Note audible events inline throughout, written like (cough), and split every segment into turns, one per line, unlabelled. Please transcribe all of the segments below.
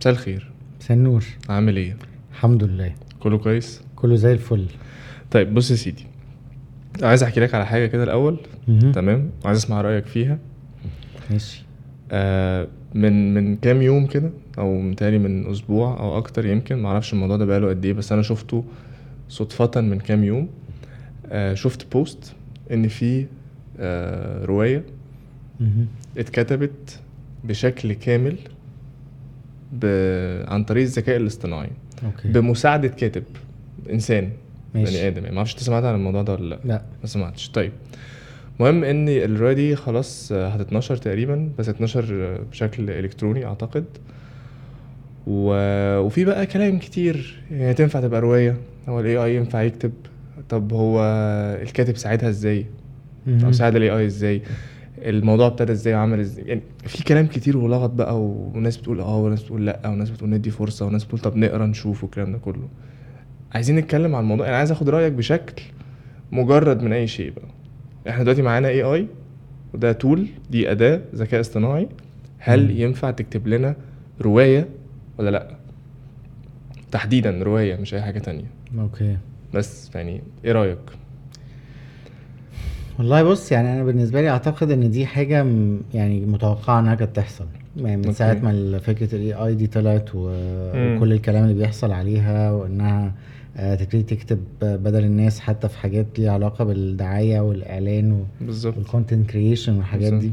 مساء الخير
مساء النور
عامل ايه
الحمد لله
كله كويس
كله زي الفل
طيب بص يا سيدي عايز احكي لك على حاجه كده الاول
مهم.
تمام وعايز اسمع رايك فيها
ماشي
آه من من كام يوم كده او متهيألي من اسبوع او اكتر يمكن معرفش الموضوع ده بقاله قد ايه بس انا شفته صدفه من كام يوم آه شفت بوست ان في آه روايه
مهم.
اتكتبت بشكل كامل ب... عن طريق الذكاء الاصطناعي
اوكي
بمساعده كاتب انسان بني
ماشي
ادم يعني ما اعرفش انت سمعت عن الموضوع ده ولا لا
لا
ما سمعتش طيب المهم ان الروايه دي خلاص آه، هتتنشر تقريبا بس هتتنشر آه، بشكل الكتروني اعتقد و... وفي بقى كلام كتير يعني تنفع تبقى روايه هو الاي اي ينفع يكتب طب هو الكاتب ساعدها ازاي
مهم.
طب ساعد الاي اي ازاي الموضوع ابتدى ازاي وعمل ازاي يعني في كلام كتير ولغط بقى وناس بتقول اه وناس بتقول لا وناس بتقول ندي فرصه وناس بتقول طب نقرا نشوف والكلام ده كله عايزين نتكلم عن الموضوع انا عايز اخد رايك بشكل مجرد من اي شيء بقى احنا دلوقتي معانا اي اي وده تول دي اداه ذكاء اصطناعي هل
مم.
ينفع تكتب لنا روايه ولا لا تحديدا روايه مش اي حاجه تانية
اوكي
بس يعني ايه رايك
والله بص يعني انا بالنسبه لي اعتقد ان دي حاجه م- يعني متوقعه انها كانت تحصل يعني من
أوكي.
ساعه ما ال- فكره الاي اي دي طلعت و...
مم.
وكل الكلام اللي بيحصل عليها وانها آه، تبتدي تكتب آه، بدل الناس حتى في حاجات ليها علاقه بالدعايه والاعلان و...
بالظبط
والكونتنت كريشن والحاجات
بالظبط.
دي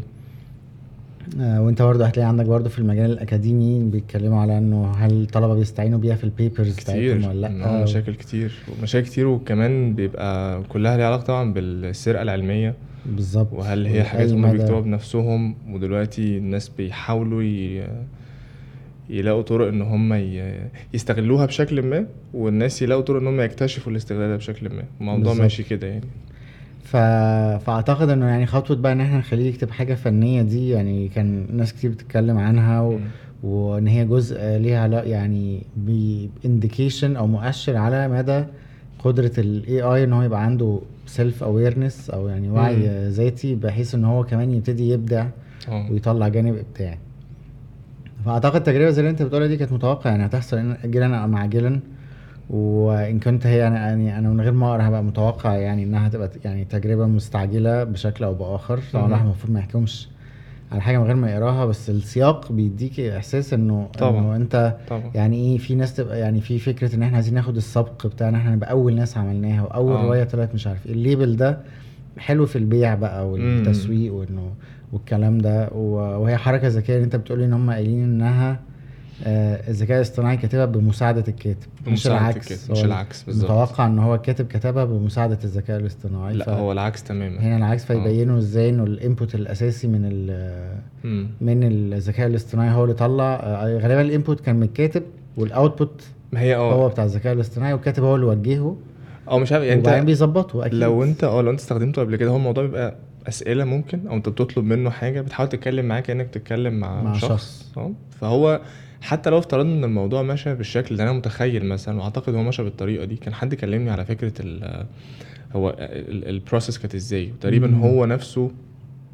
آه، وانت برضه هتلاقي عندك برضه في المجال الاكاديمي بيتكلموا على انه هل الطلبه بيستعينوا بيها في البيبرز
كتير
بتاعتهم ولا
آه،
لا
مشاكل كتير مشاكل كتير وكمان بيبقى كلها ليها علاقه طبعا بالسرقه العلميه
بالظبط
وهل هي
وأي
حاجات هم
مدى-
بيكتبوها بنفسهم ودلوقتي الناس بيحاولوا ي... يلاقوا طرق ان هم ي... يستغلوها بشكل ما والناس يلاقوا طرق ان هم يكتشفوا الاستغلال ده بشكل ما الموضوع
بالظبط.
ماشي كده يعني
ف... فاعتقد انه يعني خطوه بقى ان احنا نخليه يكتب حاجه فنيه دي يعني كان ناس كتير بتتكلم عنها و... وان هي جزء ليها علاقه يعني بانديكيشن او مؤشر على مدى قدره الاي اي ان هو يبقى عنده سيلف اويرنس او يعني وعي ذاتي بحيث ان هو كمان يبتدي يبدع
اه
ويطلع جانب ابداعي فاعتقد تجربه زي اللي انت بتقولها دي كانت متوقعه يعني هتحصل إن- جلا او عاجلا وان كنت هي انا يعني انا من غير ما اقرا هبقى متوقع يعني انها هتبقى ت- يعني تجربه مستعجله بشكل او باخر طبعا
مهم.
الواحد المفروض ما يحكمش على حاجه من غير ما يقراها بس السياق بيديك احساس انه
طبعاً.
انه انت
طبعا
يعني ايه في ناس تبقى يعني في فكره ان احنا عايزين ناخد السبق بتاعنا احنا نبقى اول ناس عملناها واول
آه.
روايه طلعت مش عارف ايه الليبل ده حلو في البيع بقى والتسويق وانه والكلام ده و- وهي حركه ذكيه اللي انت بتقولي ان هم قايلين انها آه، الذكاء الاصطناعي كاتبها بمساعده الكاتب مش
بمساعدة
العكس
الكاتب،
هو
مش العكس بالظبط
متوقع ان هو الكاتب كتبها بمساعده الذكاء الاصطناعي
لا هو العكس تماما
هنا العكس
آه.
فيبينوا ازاي انه الانبوت الاساسي من ال
مم.
من الذكاء الاصطناعي هو اللي طلع آه، غالبا الانبوت كان من الكاتب والاوتبوت
ما هي
هو
اه
بتاع الذكاء الاصطناعي والكاتب هو اللي وجهه
او مش عارف يعني انت
وبعدين بيظبطه اكيد
لو انت اه لو انت استخدمته قبل كده هو الموضوع بيبقى اسئله ممكن او انت بتطلب منه حاجه بتحاول تتكلم معاه كانك بتتكلم مع,
مع
شخص,
شخص.
اه فهو حتى لو افترضنا ان الموضوع مشى بالشكل ده انا متخيل مثلا واعتقد هو مشى بالطريقه دي كان حد كلمني على فكره ال هو البروسيس كانت ازاي وتقريبا
مم.
هو نفسه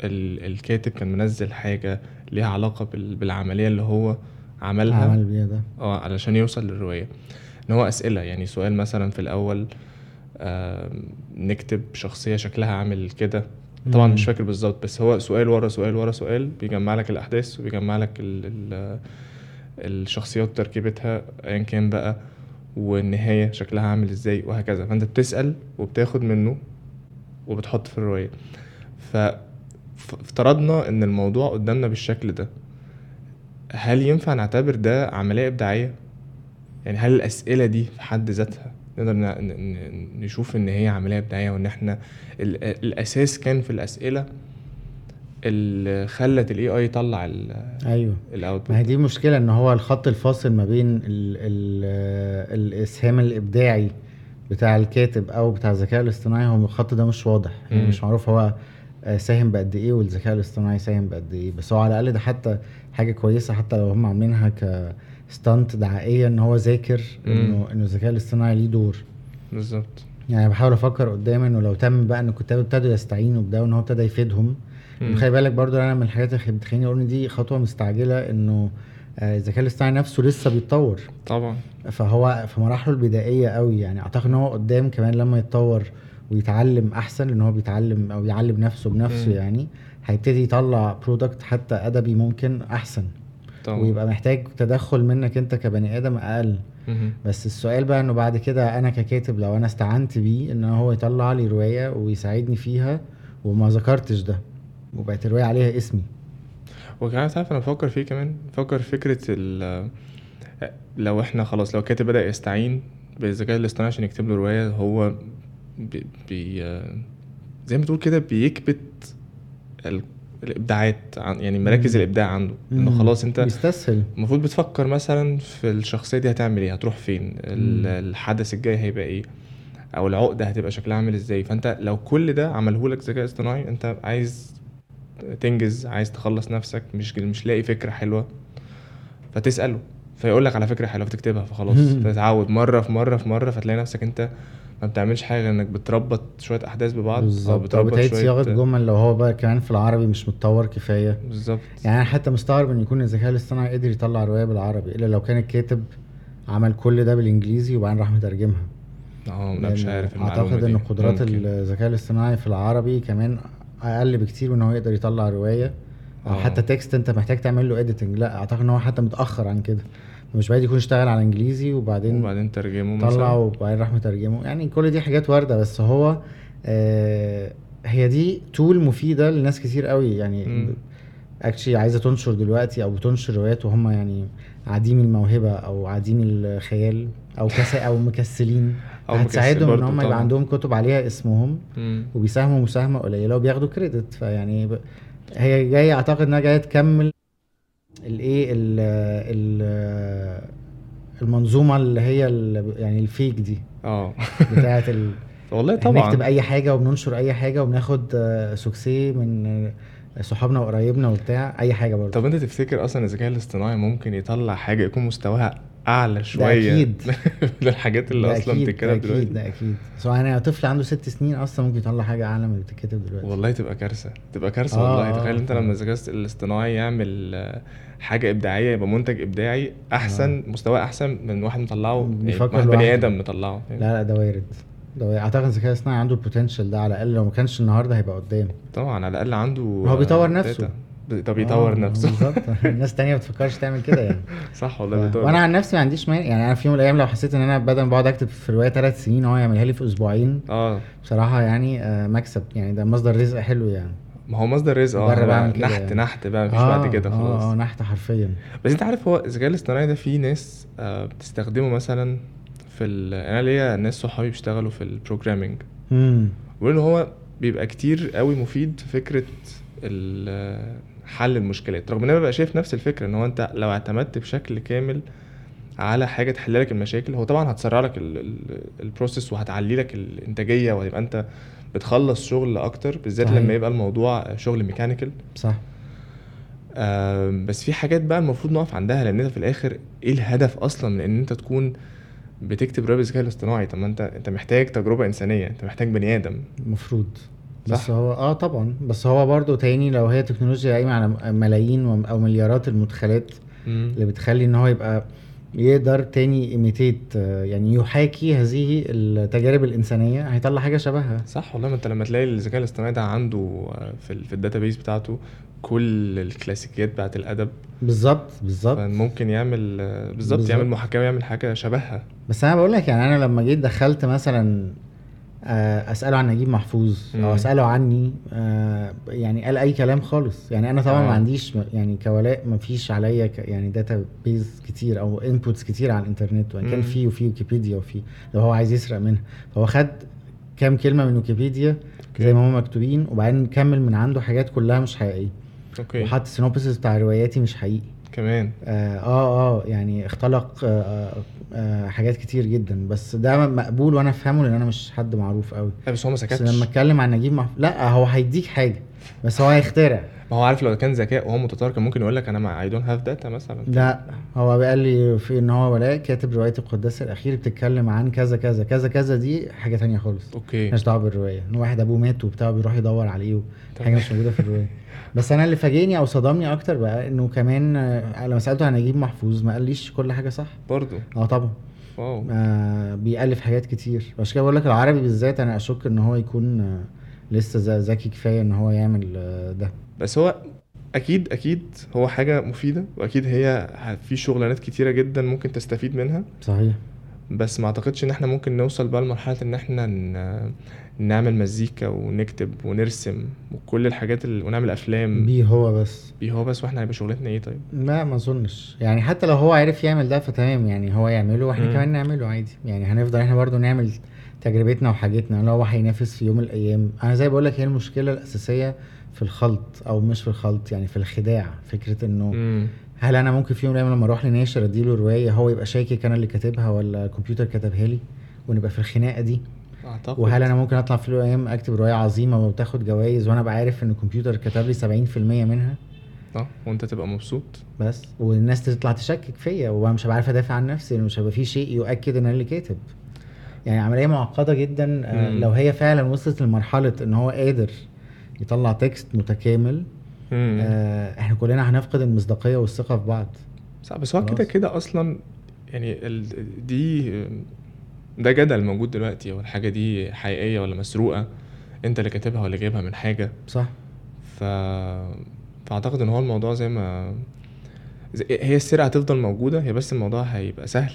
ال الكاتب كان منزل حاجه ليها علاقه بال بالعمليه اللي هو عملها
عمل بيها ده
اه علشان يوصل للرواية ان هو اسئلة يعني سؤال مثلا في الاول آم، نكتب شخصية شكلها عامل كده طبعا
مم.
مش فاكر بالظبط بس هو سؤال ورا سؤال ورا سؤال بيجمع لك الاحداث وبيجمع لك ال ال الشخصيات تركيبتها ايا كان بقى والنهاية شكلها عامل ازاي وهكذا فانت بتسأل وبتاخد منه وبتحط في الرواية ف ف- افترضنا ان الموضوع قدامنا بالشكل ده هل ينفع نعتبر ده عملية إبداعية؟ يعني هل الأسئلة دي في حد ذاتها نقدر ن- ن- ن- نشوف إن هي عملية إبداعية وإن إحنا ال- الأساس كان في الأسئلة اللي خلت ال AI يطلع ال-
ايوه ما هي
الأوتبوت
دي مشكله ان هو الخط الفاصل ما بين ال ال الاسهام الابداعي بتاع الكاتب او بتاع الذكاء الاصطناعي هو الخط ده مش واضح يعني
مم.
مش معروف هو آه، ساهم بقد ايه والذكاء الاصطناعي ساهم بقد ايه بس هو على الاقل ده حتى حاجه كويسه حتى لو هم عاملينها كستانت دعائيه ان هو ذاكر
مم.
انه انه الذكاء الاصطناعي ليه دور
بالظبط
يعني بحاول افكر قدام انه لو تم بقى ان الكتاب ابتدوا يستعينوا بده وان هو ابتدى يفيدهم
مم.
خلي بالك برضو انا من الحاجات اللي بتخليني اقول ان دي خطوه مستعجله انه آه، الذكاء الاصطناعي نفسه لسه بيتطور
طبعا
فهو في مراحله البدائيه قوي يعني اعتقد ان هو قدام كمان لما يتطور ويتعلم احسن لان هو بيتعلم او يعلم نفسه بنفسه
مم.
يعني هيبتدي يطلع برودكت حتى ادبي ممكن احسن
طبعا
ويبقى محتاج تدخل منك انت كبني ادم اقل
مم.
بس السؤال بقى انه بعد كده انا ككاتب لو انا استعنت بيه ان هو يطلع لي روايه ويساعدني فيها وما ذكرتش ده وبقت الروايه عليها اسمي
وكمان تعرف انا بفكر فيه كمان بفكر في فكره ال لو احنا خلاص لو الكاتب بدا يستعين بالذكاء الاصطناعي عشان يكتب له روايه هو بي, بي زي ما تقول كده بيكبت ال- الابداعات عن يعني مراكز
مم.
الابداع عنده انه خلاص انت
بيستسهل
المفروض بتفكر مثلا في الشخصيه دي هتعمل ايه هتروح فين ال-
مم.
الحدث الجاي هيبقى ايه او العقده هتبقى شكلها عامل ازاي فانت لو كل ده عملهولك ذكاء اصطناعي انت عايز تنجز عايز تخلص نفسك مش مش لاقي فكره حلوه فتساله فيقول لك على فكره حلوه فتكتبها فخلاص
مم.
تتعود مره في مره في مره فتلاقي نفسك انت ما بتعملش حاجه غير انك بتربط شويه احداث ببعض او
بالظبط او
بتربط
بتعيد صياغه
شويه
جمل لو هو بقى كمان في العربي مش متطور كفايه
بالظبط
يعني انا حتى مستغرب ان يكون الذكاء الاصطناعي قدر يطلع روايه بالعربي الا لو كان الكاتب عمل كل ده بالانجليزي وبعدين راح مترجمها
اه انا مش
لأن
عارف المعلومه
اعتقد
دي.
ان قدرات
ممكن.
الذكاء الاصطناعي في العربي كمان اقل بكتير من ان هو يقدر يطلع روايه او
آه.
حتى تكست انت محتاج تعمل له اديتنج لا اعتقد ان هو حتى متاخر عن كده مش بعيد يكون اشتغل على انجليزي وبعدين
وبعدين ترجمه
طلع
مثلا
وبعدين راح مترجمه يعني كل دي حاجات وارده بس هو آه هي دي تول مفيده لناس كتير قوي يعني
مم.
اكشلي عايزه تنشر دلوقتي او بتنشر روايات وهم يعني عديم الموهبه او عديم الخيال او كسا او مكسلين
أو مكسل
هتساعدهم ان
برضه
هم يبقى
طبعاً.
عندهم كتب عليها اسمهم
مم.
وبيساهموا مساهمه قليله وبياخدوا كريدت فيعني ب... هي جايه اعتقد انها جايه تكمل الايه ال- ال- المنظومه اللي هي ال- يعني الفيك دي
اه
بتاعه ال...
(laughs) والله
طبعا نكتب
طبعا
اي حاجه وبننشر اي حاجه وبناخد آه، سوكسي من آه، صحابنا وقرايبنا وبتاع اي حاجه برضه
طب انت تفتكر اصلا الذكاء الاصطناعي ممكن يطلع حاجه يكون مستواها اعلى شويه
أكيد.
(laughs) من الحاجات اللي
ده
اصلا
أكيد، ده
بتتكلم
اكيد
دلوقتي
ده اكيد سواء انا طفل عنده ست سنين اصلا ممكن يطلع حاجه اعلى من اللي بتتكتب دلوقتي
والله تبقى كارثه تبقى كارثه
آه،
والله
آه.
تخيل انت لما الذكاء الاصطناعي يعمل آه، حاجه ابداعيه يبقى منتج ابداعي احسن مستوى احسن من واحد مطلعه يعني
آه. بيفكر
واحد بني
لوحده.
ادم مطلعه
لا لا ده وارد ده وارد. اعتقد الذكاء الاصطناعي عنده البوتنشال ده على الاقل لو ما كانش النهارده هيبقى قدام
طبعا على الاقل عنده
هو بيطور
آه،
نفسه.
data. بي- طب بيطور
آه،
نفسه (laughs)
بالظبط (laughs) الناس تانية ما بتفكرش تعمل كده يعني
صح (laughs)
ف-
والله بيطور
وانا عن نفسي ما عنديش مانع يعني انا في يوم من الايام لو حسيت ان انا بدل ما بقعد اكتب في روايه ثلاث سنين هو يعملها لي في اسبوعين
اه
بصراحه يعني آه، مكسب يعني ده مصدر رزق حلو يعني
ما هو مصدر رزق اه
بره
هو
بعمل كده
نحت
يعني.
نحت بقى مفيش بعد كده خلاص
اه اه نحت حرفيا
بس انت عارف هو الذكاء الاصطناعي ده في ناس آه، بتستخدمه مثلا في ال... انا ليا ناس صحابي بيشتغلوا في البروجرامينج
امم
بيقولوا ان هو بيبقى كتير قوي مفيد في فكره ال- آه، حل المشكلات رغم ان انا ببقى شايف نفس الفكره ان هو انت لو اعتمدت بشكل كامل على حاجه تحل لك المشاكل هو طبعا هتسرع لك ال- ال- البروسيس وهتعلي لك الانتاجيه وهتبقى انت بتخلص شغل اكتر بالذات
صحيح.
لما يبقى الموضوع شغل ميكانيكال
صح
آم، بس في حاجات بقى المفروض نقف عندها لان انت في الاخر ايه الهدف اصلا من ان انت تكون بتكتب روايه بالذكاء الاصطناعي طب ما انت انت محتاج تجربه انسانيه انت محتاج بني ادم
المفروض بس
صح.
هو اه طبعا بس هو برضه تاني لو هي تكنولوجيا قايمه على م- ملايين وم- او مليارات المدخلات اللي بتخلي ان هو يبقى يقدر تاني ايميتيت يعني يحاكي هذه التجارب الانسانيه هيطلع حاجه شبهها
صح والله ما انت لما تلاقي الذكاء الاصطناعي ده عنده آه، في ال- في الداتابيس بتاعته كل الكلاسيكيات بتاعت الادب
بالظبط بالظبط
فممكن يعمل آه، بالظبط
بالظبط.
يعمل محاكاه ويعمل حاجه شبهها
بس انا بقول لك يعني انا لما جيت دخلت مثلا آه، اساله عن نجيب محفوظ
مم.
او اساله عني آه، يعني قال اي كلام خالص يعني انا طبعا
آه.
ما عنديش م- يعني كولاء ما فيش عليا ك- يعني داتا بيز كتير او انبوتس كتير على الانترنت وان
مم.
كان في وفي ويكيبيديا وفي لو هو عايز يسرق منها فهو خد كام كلمه من ويكيبيديا زي ما هم مكتوبين وبعدين كمل من عنده حاجات كلها مش حقيقيه
اوكي
وحط سينوبسيس بتاع رواياتي مش حقيقي
كمان
اه اه آه، يعني اختلق آه، آه آه حاجات كتير جدا بس ده مقبول وانا افهمه لان انا مش حد معروف قوي
لا بس هو ما
بس لما
سكتش
اتكلم عن نجيب محفوظ لا هو هيديك حاجه بس هو هيخترع
ما هو عارف لو كان ذكاء وهو متطور كان ممكن يقول لك انا ما اي دونت هاف داتا مثلا
لا هو قال لي في ان هو ولاء كاتب روايه القداس الاخير بتتكلم عن كذا كذا كذا كذا دي حاجه تانية خالص
اوكي
مالهاش دعوه بالروايه ان واحد ابوه مات وبتاع بيروح يدور عليه حاجه مش موجوده في الروايه بس انا اللي فاجئني او صدمني اكتر بقى انه كمان آه، لما سالته عن نجيب محفوظ ما قاليش كل حاجه صح
برضه
اه طبعا
واو
آه بيألف حاجات كتير عشان كده بقول لك العربي بالذات انا اشك ان هو يكون آه لسه ذ- ذكي كفايه ان هو يعمل آه ده
بس هو اكيد اكيد هو حاجه مفيده واكيد هي ه- في شغلانات كتيره جدا ممكن تستفيد منها
صحيح
بس ما اعتقدش ان احنا ممكن نوصل بقى لمرحله ان احنا ن- نعمل مزيكا ونكتب ونرسم وكل الحاجات اللي ونعمل افلام
بيه هو بس
بيه هو بس واحنا هيبقى شغلتنا ايه طيب
لا ما اظنش يعني حتى لو هو عرف يعمل ده فتمام يعني هو يعمله واحنا
مم.
كمان نعمله عادي يعني هنفضل احنا برضو نعمل تجربتنا وحاجتنا لو هو هينافس في يوم من الايام انا زي بقول لك هي المشكله الاساسيه في الخلط او مش في الخلط يعني في الخداع فكره انه
امم
هل انا ممكن في يوم من الايام لما اروح لناشر اديله روايه هو يبقى شاكك انا اللي كاتبها ولا الكمبيوتر كتبها لي ونبقى في الخناقه دي
اعتقد
وهل انا ممكن اطلع في يوم من الايام اكتب روايه عظيمه وبتاخد جوائز وانا ابقى عارف ان الكمبيوتر كتب لي 70% منها
اه وانت تبقى مبسوط
بس والناس تطلع تشكك فيا وانا مش هبقى عارف ادافع عن نفسي لان مش هيبقى في شيء يؤكد ان انا اللي كاتب يعني عمليه معقده جدا آه،
مم.
لو هي فعلا وصلت لمرحله ان هو قادر يطلع تكست متكامل
امم
آه، احنا كلنا هنفقد المصداقيه والثقه في بعض
صح بس هو
خلاص.
كده كده اصلا يعني ال... دي ده جدل موجود دلوقتي هو الحاجه دي حقيقيه ولا مسروقه انت اللي كاتبها ولا جايبها من حاجه
صح
ف فاعتقد ان هو الموضوع زي ما زي- هي السرقه هتفضل موجوده هي بس الموضوع هيبقى سهل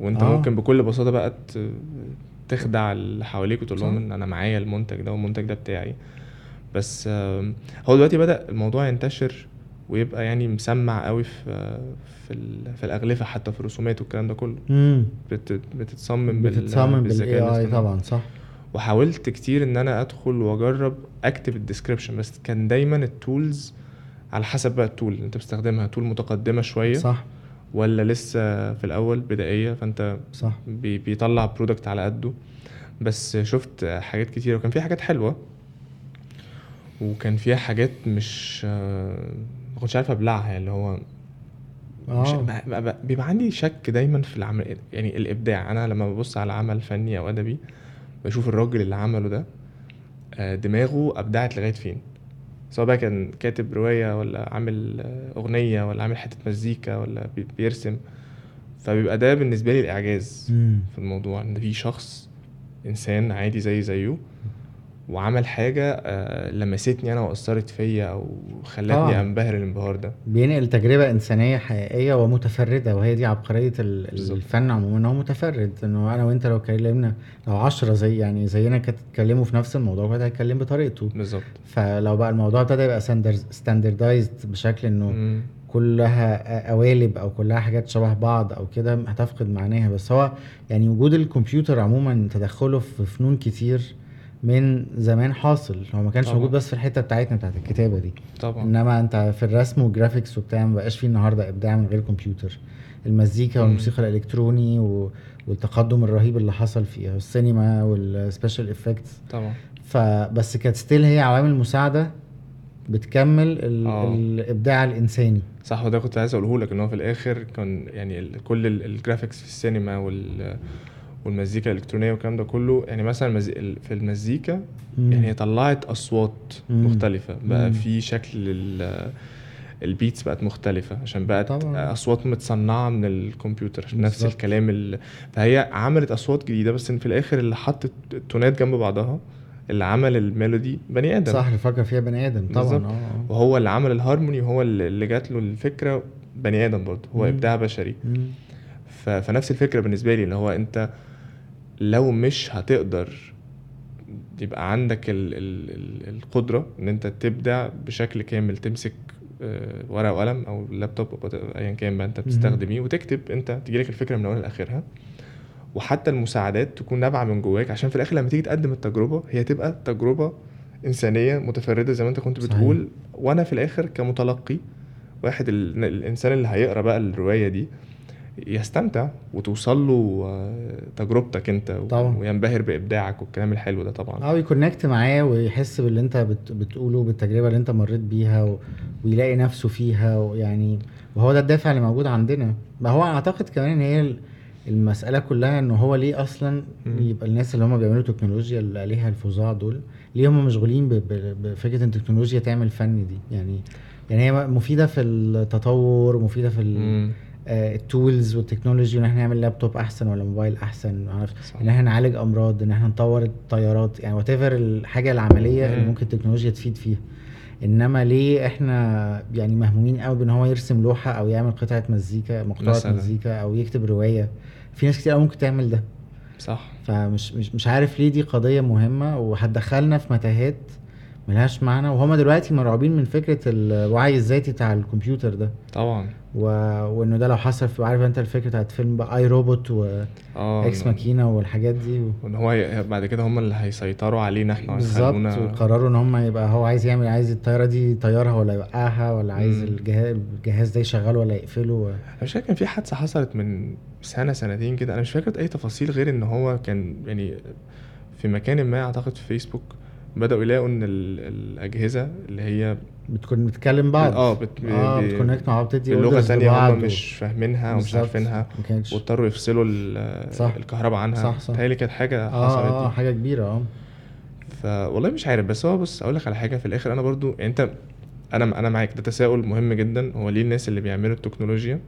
وانت
آه.
آه. ممكن بكل بساطه بقى ت... تخدع اللي حواليك وتقول لهم
صح.
ان انا معايا المنتج ده والمنتج ده بتاعي بس آم، هو دلوقتي بدا الموضوع ينتشر ويبقى يعني مسمع قوي في في, ال... في الاغلفه حتى في الرسومات والكلام ده كله
امم
بت... بتتصمم بال...
بتتصمم بالاي
بالذكاء
اي
الاصطناعي.
طبعا صح
وحاولت كتير ان انا ادخل واجرب اكتب الديسكربشن بس كان دايما التولز على حسب بقى التول اللي انت بتستخدمها تول متقدمه شويه
صح
ولا لسه في الاول بدائيه فانت
صح
بي بيطلع برودكت على قده بس شفت حاجات كتير وكان فيها حاجات حلوه وكان فيها حاجات مش آه، ما كنتش عارف ابلعها اللي هو مش
اه
بقى- بقى- بقى- بيبقى عندي شك دايما في العمل يعني الابداع انا لما ببص على عمل فني او ادبي بشوف الراجل اللي عمله ده آه، دماغه ابدعت لغايه فين سواء بقى كان كاتب روايه ولا عامل آه، اغنيه ولا عامل حته مزيكا ولا بي- بيرسم فبيبقى ده بالنسبه لي الاعجاز
امم
في الموضوع ان في شخص انسان عادي زي زيه وعمل حاجه آه، لمستني انا واثرت فيا او خلتني
طبعاً.
انبهر الانبهار ده
بينقل تجربة إنسانية حقيقية ومتفردة وهي دي عبقرية ال-
بالظبط.
الفن عموما إن هو متفرد إنه أنا وأنت لو اتكلمنا لو عشرة زي يعني زينا كانت اتكلموا في نفس الموضوع كده هيتكلم بطريقته
بالظبط
فلو بقى الموضوع ابتدى يبقى ستاندردايزد بشكل إنه
مم.
كلها قوالب أو كلها حاجات شبه بعض أو كده هتفقد معناها بس هو يعني وجود الكمبيوتر عموما تدخله في فنون كتير من زمان حاصل هو ما كانش
طبعاً.
موجود بس في الحتة بتاعتنا بتاعت الكتابة دي
طبعا
انما انت في الرسم والجرافيكس وبتاع مبقاش فيه النهارده ابداع من غير كمبيوتر المزيكا
مم.
والموسيقى الالكتروني و... والتقدم الرهيب اللي حصل فيها والسينما والسبيشال افكتس
طبعا
فبس كانت ستيل هي عوامل مساعده بتكمل ال...
آه.
الابداع الانساني
صح وده كنت عايز اقوله لك ان هو في الاخر كان يعني ال- كل ال- الجرافيكس في السينما وال والمزيكا الالكترونيه والكلام ده كله يعني مثلا مز... ال- في المزيكا
مم.
يعني هي طلعت اصوات
مم.
مختلفه بقى
مم.
في شكل ال... البيتس بقت مختلفه عشان بقت
طبعاً.
اصوات متصنعه من الكمبيوتر عشان نفس
بالظبط.
الكلام ال... فهي عملت اصوات جديده بس إن في الاخر اللي حط التونات جنب بعضها اللي عمل الميلودي بني ادم
صح اللي فكر فيها بني ادم
بالظبط.
طبعا اه آه.
وهو اللي عمل الهارموني وهو اللي اللي جات له الفكره بني ادم برضه هو
مم.
ابداع بشري
مم.
ف... فنفس الفكره بالنسبه لي اللي هو انت لو مش هتقدر يبقى عندك ال... ال... ال- القدره ان انت تبدع بشكل كامل تمسك آه، ورقه وقلم او لابتوب أو ايا كان بقى انت بتستخدم ايه وتكتب انت تجيلك الفكره من اولها لاخرها وحتى المساعدات تكون نابعه من جواك عشان في الاخر لما تيجي تقدم التجربه هي تبقى تجربه انسانيه متفرده زي ما انت كنت
صحيح.
بتقول وانا في الاخر كمتلقي واحد ال... الانسان اللي هيقرا بقى الروايه دي يستمتع وتوصل له آه، تجربتك انت و-
طبعا.
وينبهر بابداعك والكلام الحلو ده طبعا
او يكونكت معاه ويحس باللي انت بت... بتقوله بالتجربه اللي انت مريت بيها و... ويلاقي نفسه فيها ويعني وهو ده الدافع اللي موجود عندنا ما هو اعتقد كمان ان هي ال- المساله كلها ان هو ليه اصلا
مم.
يبقى الناس اللي هم بيعملوا تكنولوجيا اللي عليها الفظاع دول ليه هم مشغولين ب... ب... بفكره ان التكنولوجيا تعمل فن دي يعني يعني هي مفيده في التطور مفيده في ال...
مم.
آه، التولز والتكنولوجي ان احنا نعمل لابتوب احسن ولا موبايل احسن ما اعرفش
صح.
ان احنا نعالج امراض ان احنا نطور الطيارات يعني وات ايفر الحاجه العمليه اللي
مم.
ممكن التكنولوجيا تفيد فيها انما ليه احنا يعني مهمومين قوي بان هو يرسم لوحه او يعمل قطعه مزيكا مقطوعه
مثلاً.
مزيكا او يكتب روايه في ناس كتير قوي ممكن تعمل ده
صح
فمش مش, مش عارف ليه دي قضيه مهمه وهتدخلنا في متاهات ملهاش معنى وهما دلوقتي مرعوبين من فكره الوعي الذاتي بتاع الكمبيوتر ده
طبعا
و... وانه ده لو حصل في عارف انت الفكره بتاعت فيلم بقى اي روبوت واكس
اه إنه-
ماكينه والحاجات دي و...
وان هو ي- بعد كده هم اللي هيسيطروا علينا احنا
بالظبط
ويخلونا-
وقرروا ان هم يبقى هو عايز يعمل عايز الطياره دي يطيرها ولا يوقعها ولا عايز
مم.
الجهاز الجهاز ده يشغله ولا يقفله و...
انا مش فاكر كان في حادثه حصلت من سنه سنتين كده انا مش فاكر اي تفاصيل غير ان هو كان يعني في مكان ما اعتقد في فيسبوك بداوا يلاقوا ان ال- الاجهزه اللي هي
بتكون بتكلم بعض
اه بت...
اه
ب-
بتكونكت مع بعض بتدي
باللغه
orders
تانية
لبعض
هم مش فاهمينها ومش
بالظبط.
عارفينها
ما كانتش
واضطروا يفصلوا ال-
صح.
الكهرباء عنها
صح، صح.
بتهيألي كانت حاجه حصلت
اه
دي
اه حاجه كبيره اه
ف والله مش عارف بس هو بص اقول لك على حاجه في الاخر انا برضو يعني انت انا انا معاك ده تساؤل مهم جدا هو ليه الناس اللي بيعملوا التكنولوجيا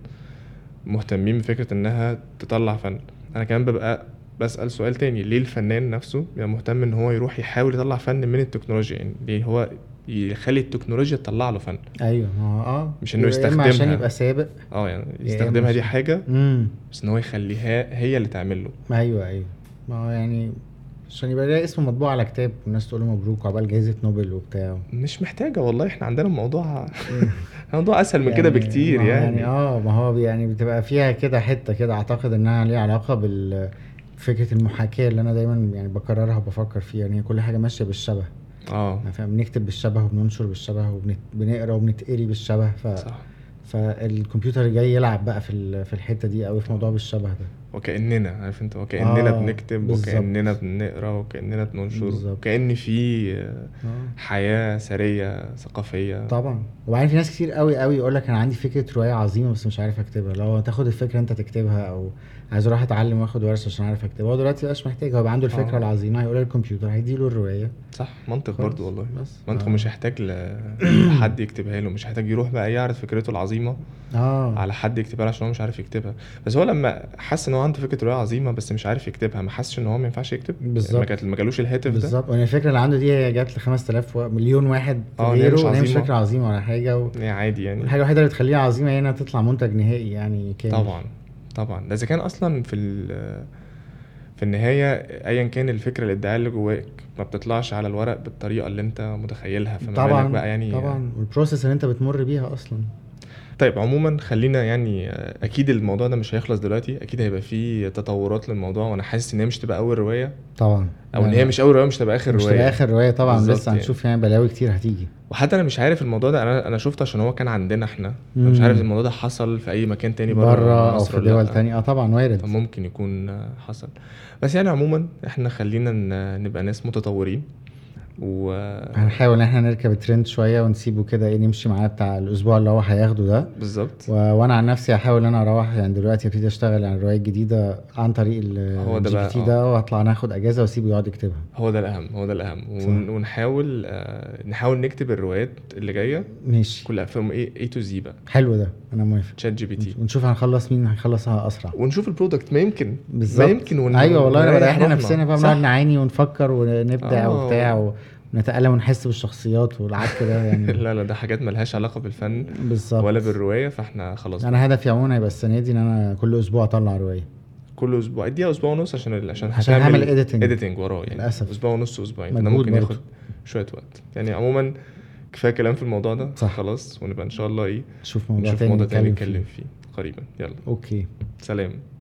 مهتمين بفكره انها تطلع فن انا كمان ببقى بسال سؤال تاني ليه الفنان نفسه بيبقى مهتم ان هو يروح يحاول يطلع فن من التكنولوجيا يعني ليه هو يخلي التكنولوجيا تطلع له فن
ايوه اه اه
مش إنه
يا إما عشان
يستخدمها.
يبقى سابق
اه يعني يستخدمها دي
مش-
حاجه
امم
بس ان هو يخليها هي اللي تعمل له
ايوه ايوه ما هو يعني عشان يبقى ليها اسمه مطبوع على كتاب والناس تقول له مبروك عقبال جائزه
(laughs)
نوبل وبتاع
مش محتاجه والله احنا عندنا الموضوع (laughs) الموضوع اسهل من كده
يعني-
بكتير
ما هو
يعني,
اه ما هو يعني بتبقى فيها كده حته كده اعتقد انها ليها علاقه بال فكره المحاكاه اللي انا دايما يعني بكررها وبفكر فيها يعني هي كل حاجه ماشيه بالشبه
اه
يعني فاهم بنكتب بالشبه وبننشر بالشبه وبنقرا وبنتقري بالشبه ف...
آه، صح
فالكمبيوتر جاي يلعب بقى في ال- في الحته دي قوي في موضوع بالشبه ده
وكأننا عارف انت وكأننا
آه،
بنكتب
بالظبط.
وكأننا بنقرا وكأننا بننشر
بالظبط.
وكأن في
آه.
حياة سرية ثقافية
طبعا وبعدين في ناس كتير قوي قوي يقول لك انا عندي فكره روايه عظيمه بس مش عارف اكتبها لو تاخد الفكره انت تكتبها او عايز اروح اتعلم واخد ورش عشان اعرف اكتبها هو دلوقتي مبقاش محتاج هو يبقى عنده الفكره
آه.
العظيمه هيقول للكمبيوتر هيديله الروايه
صح منطق
خلاص،
برضو والله
بس
منطق
آه.
مش هيحتاج
(coughs)
ل- لحد يكتبها له مش هيحتاج يروح بقى يعرض فكرته العظيمة
اه
على حد يكتبها له عشان هو مش عارف يكتبها بس هو لما حس ان هو عنده فكرة رواية عظيمة بس مش عارف يكتبها ما حسش ان هو ما ينفعش يكتب يعني
بالظبط.
ما كانت- ما جالوش الهاتف ده
بالظبط وان الفكره اللي عنده دي هي جات ل 5000 و- مليون واحد
آه، إن هي مش
غيره وان هي مش
عظيمة.
فكره عظيمه ولا حاجه و-
يعني عادي يعني
والحاجه الوحيده اللي بتخليها عظيمه هي انها تطلع منتج نهائي يعني كامل
طبعا طبعا ده اذا كان اصلا في ال- في النهايه ايا كان الفكره الابداعيه اللي جواك ما بتطلعش على الورق بالطريقه اللي انت متخيلها فما
طبعا
بالك بقى يعني
طبعا والبروسيس اللي انت بتمر بيها اصلا
طيب عموما خلينا يعني آه، اكيد الموضوع ده مش هيخلص دلوقتي اكيد هيبقى فيه تطورات للموضوع وانا حاسس ان هي مش تبقى اول روايه
طبعا
او ان هي مش اول روايه مش تبقى اخر
يعني مش
روايه
تبقى اخر روايه طبعا
بالظبط
لسه
يعني.
هنشوف يعني بلاوي كتير هتيجي
وحتى انا مش عارف الموضوع ده انا انا شفته عشان هو كان عندنا احنا أنا مش
مم.
عارف الموضوع ده حصل في اي مكان تاني بره
بره او
مصر
في
ولا لأ.
دول تانية اه طبعا وارد
فممكن يكون آه، حصل بس يعني عموما احنا خلينا ن- نبقى ناس متطورين و
هنحاول ان احنا نركب الترند شويه ونسيبه كده ايه نمشي معاه بتاع الاسبوع اللي هو هياخده ده
بالظبط
و... وانا عن نفسي هحاول ان انا اروح يعني دلوقتي ابتدي اشتغل على الروايه الجديده عن طريق
هو
ال
ده
جي
بقى،
بي تي
آه.
ده وهطلع ناخد اجازه واسيبه يقعد يكتبها
هو ده الاهم هو ده الاهم ون...
صح.
ونحاول آه، نحاول نكتب الروايات اللي جايه
ماشي
كلها فيهم ايه اي تو زي بقى
حلو ده انا موافق
تشات جي بي تي
ونشوف هنخلص مين هيخلصها اسرع
ونشوف البرودكت ما يمكن
بالظبط
ما يمكن ون...
ايوه والله انا
ونريح
بريحنا
روحنا.
نفسنا بقى
صح؟
بنقعد نعاني ونفكر ونبدع
آه.
وبتاع ونتألم ونحس بالشخصيات والعك ده يعني
(laughs) لا لا ده حاجات ملهاش علاقه بالفن
بالظبط يعني
ولا بالروايه فاحنا خلاص
انا هدفي عموما هيبقى السنه دي ان انا كل اسبوع اطلع روايه
كل اسبوع اديها اسبوع ونص عشان ال- عشان
عشان هعمل editing.
اديتنج وراه يعني
للأسف.
اسبوع ونص اسبوعين ده
مجهود
ممكن
برضه.
ياخد شويه وقت يعني عموما كفايه كلام في الموضوع ده
صح.
خلاص ونبقى ان شاء الله ايه
نشوف موضوع
نشوف
تاني
موضوع تاني
نتكلم فيه
نتكلم فيه قريبا يلا
اوكي
سلام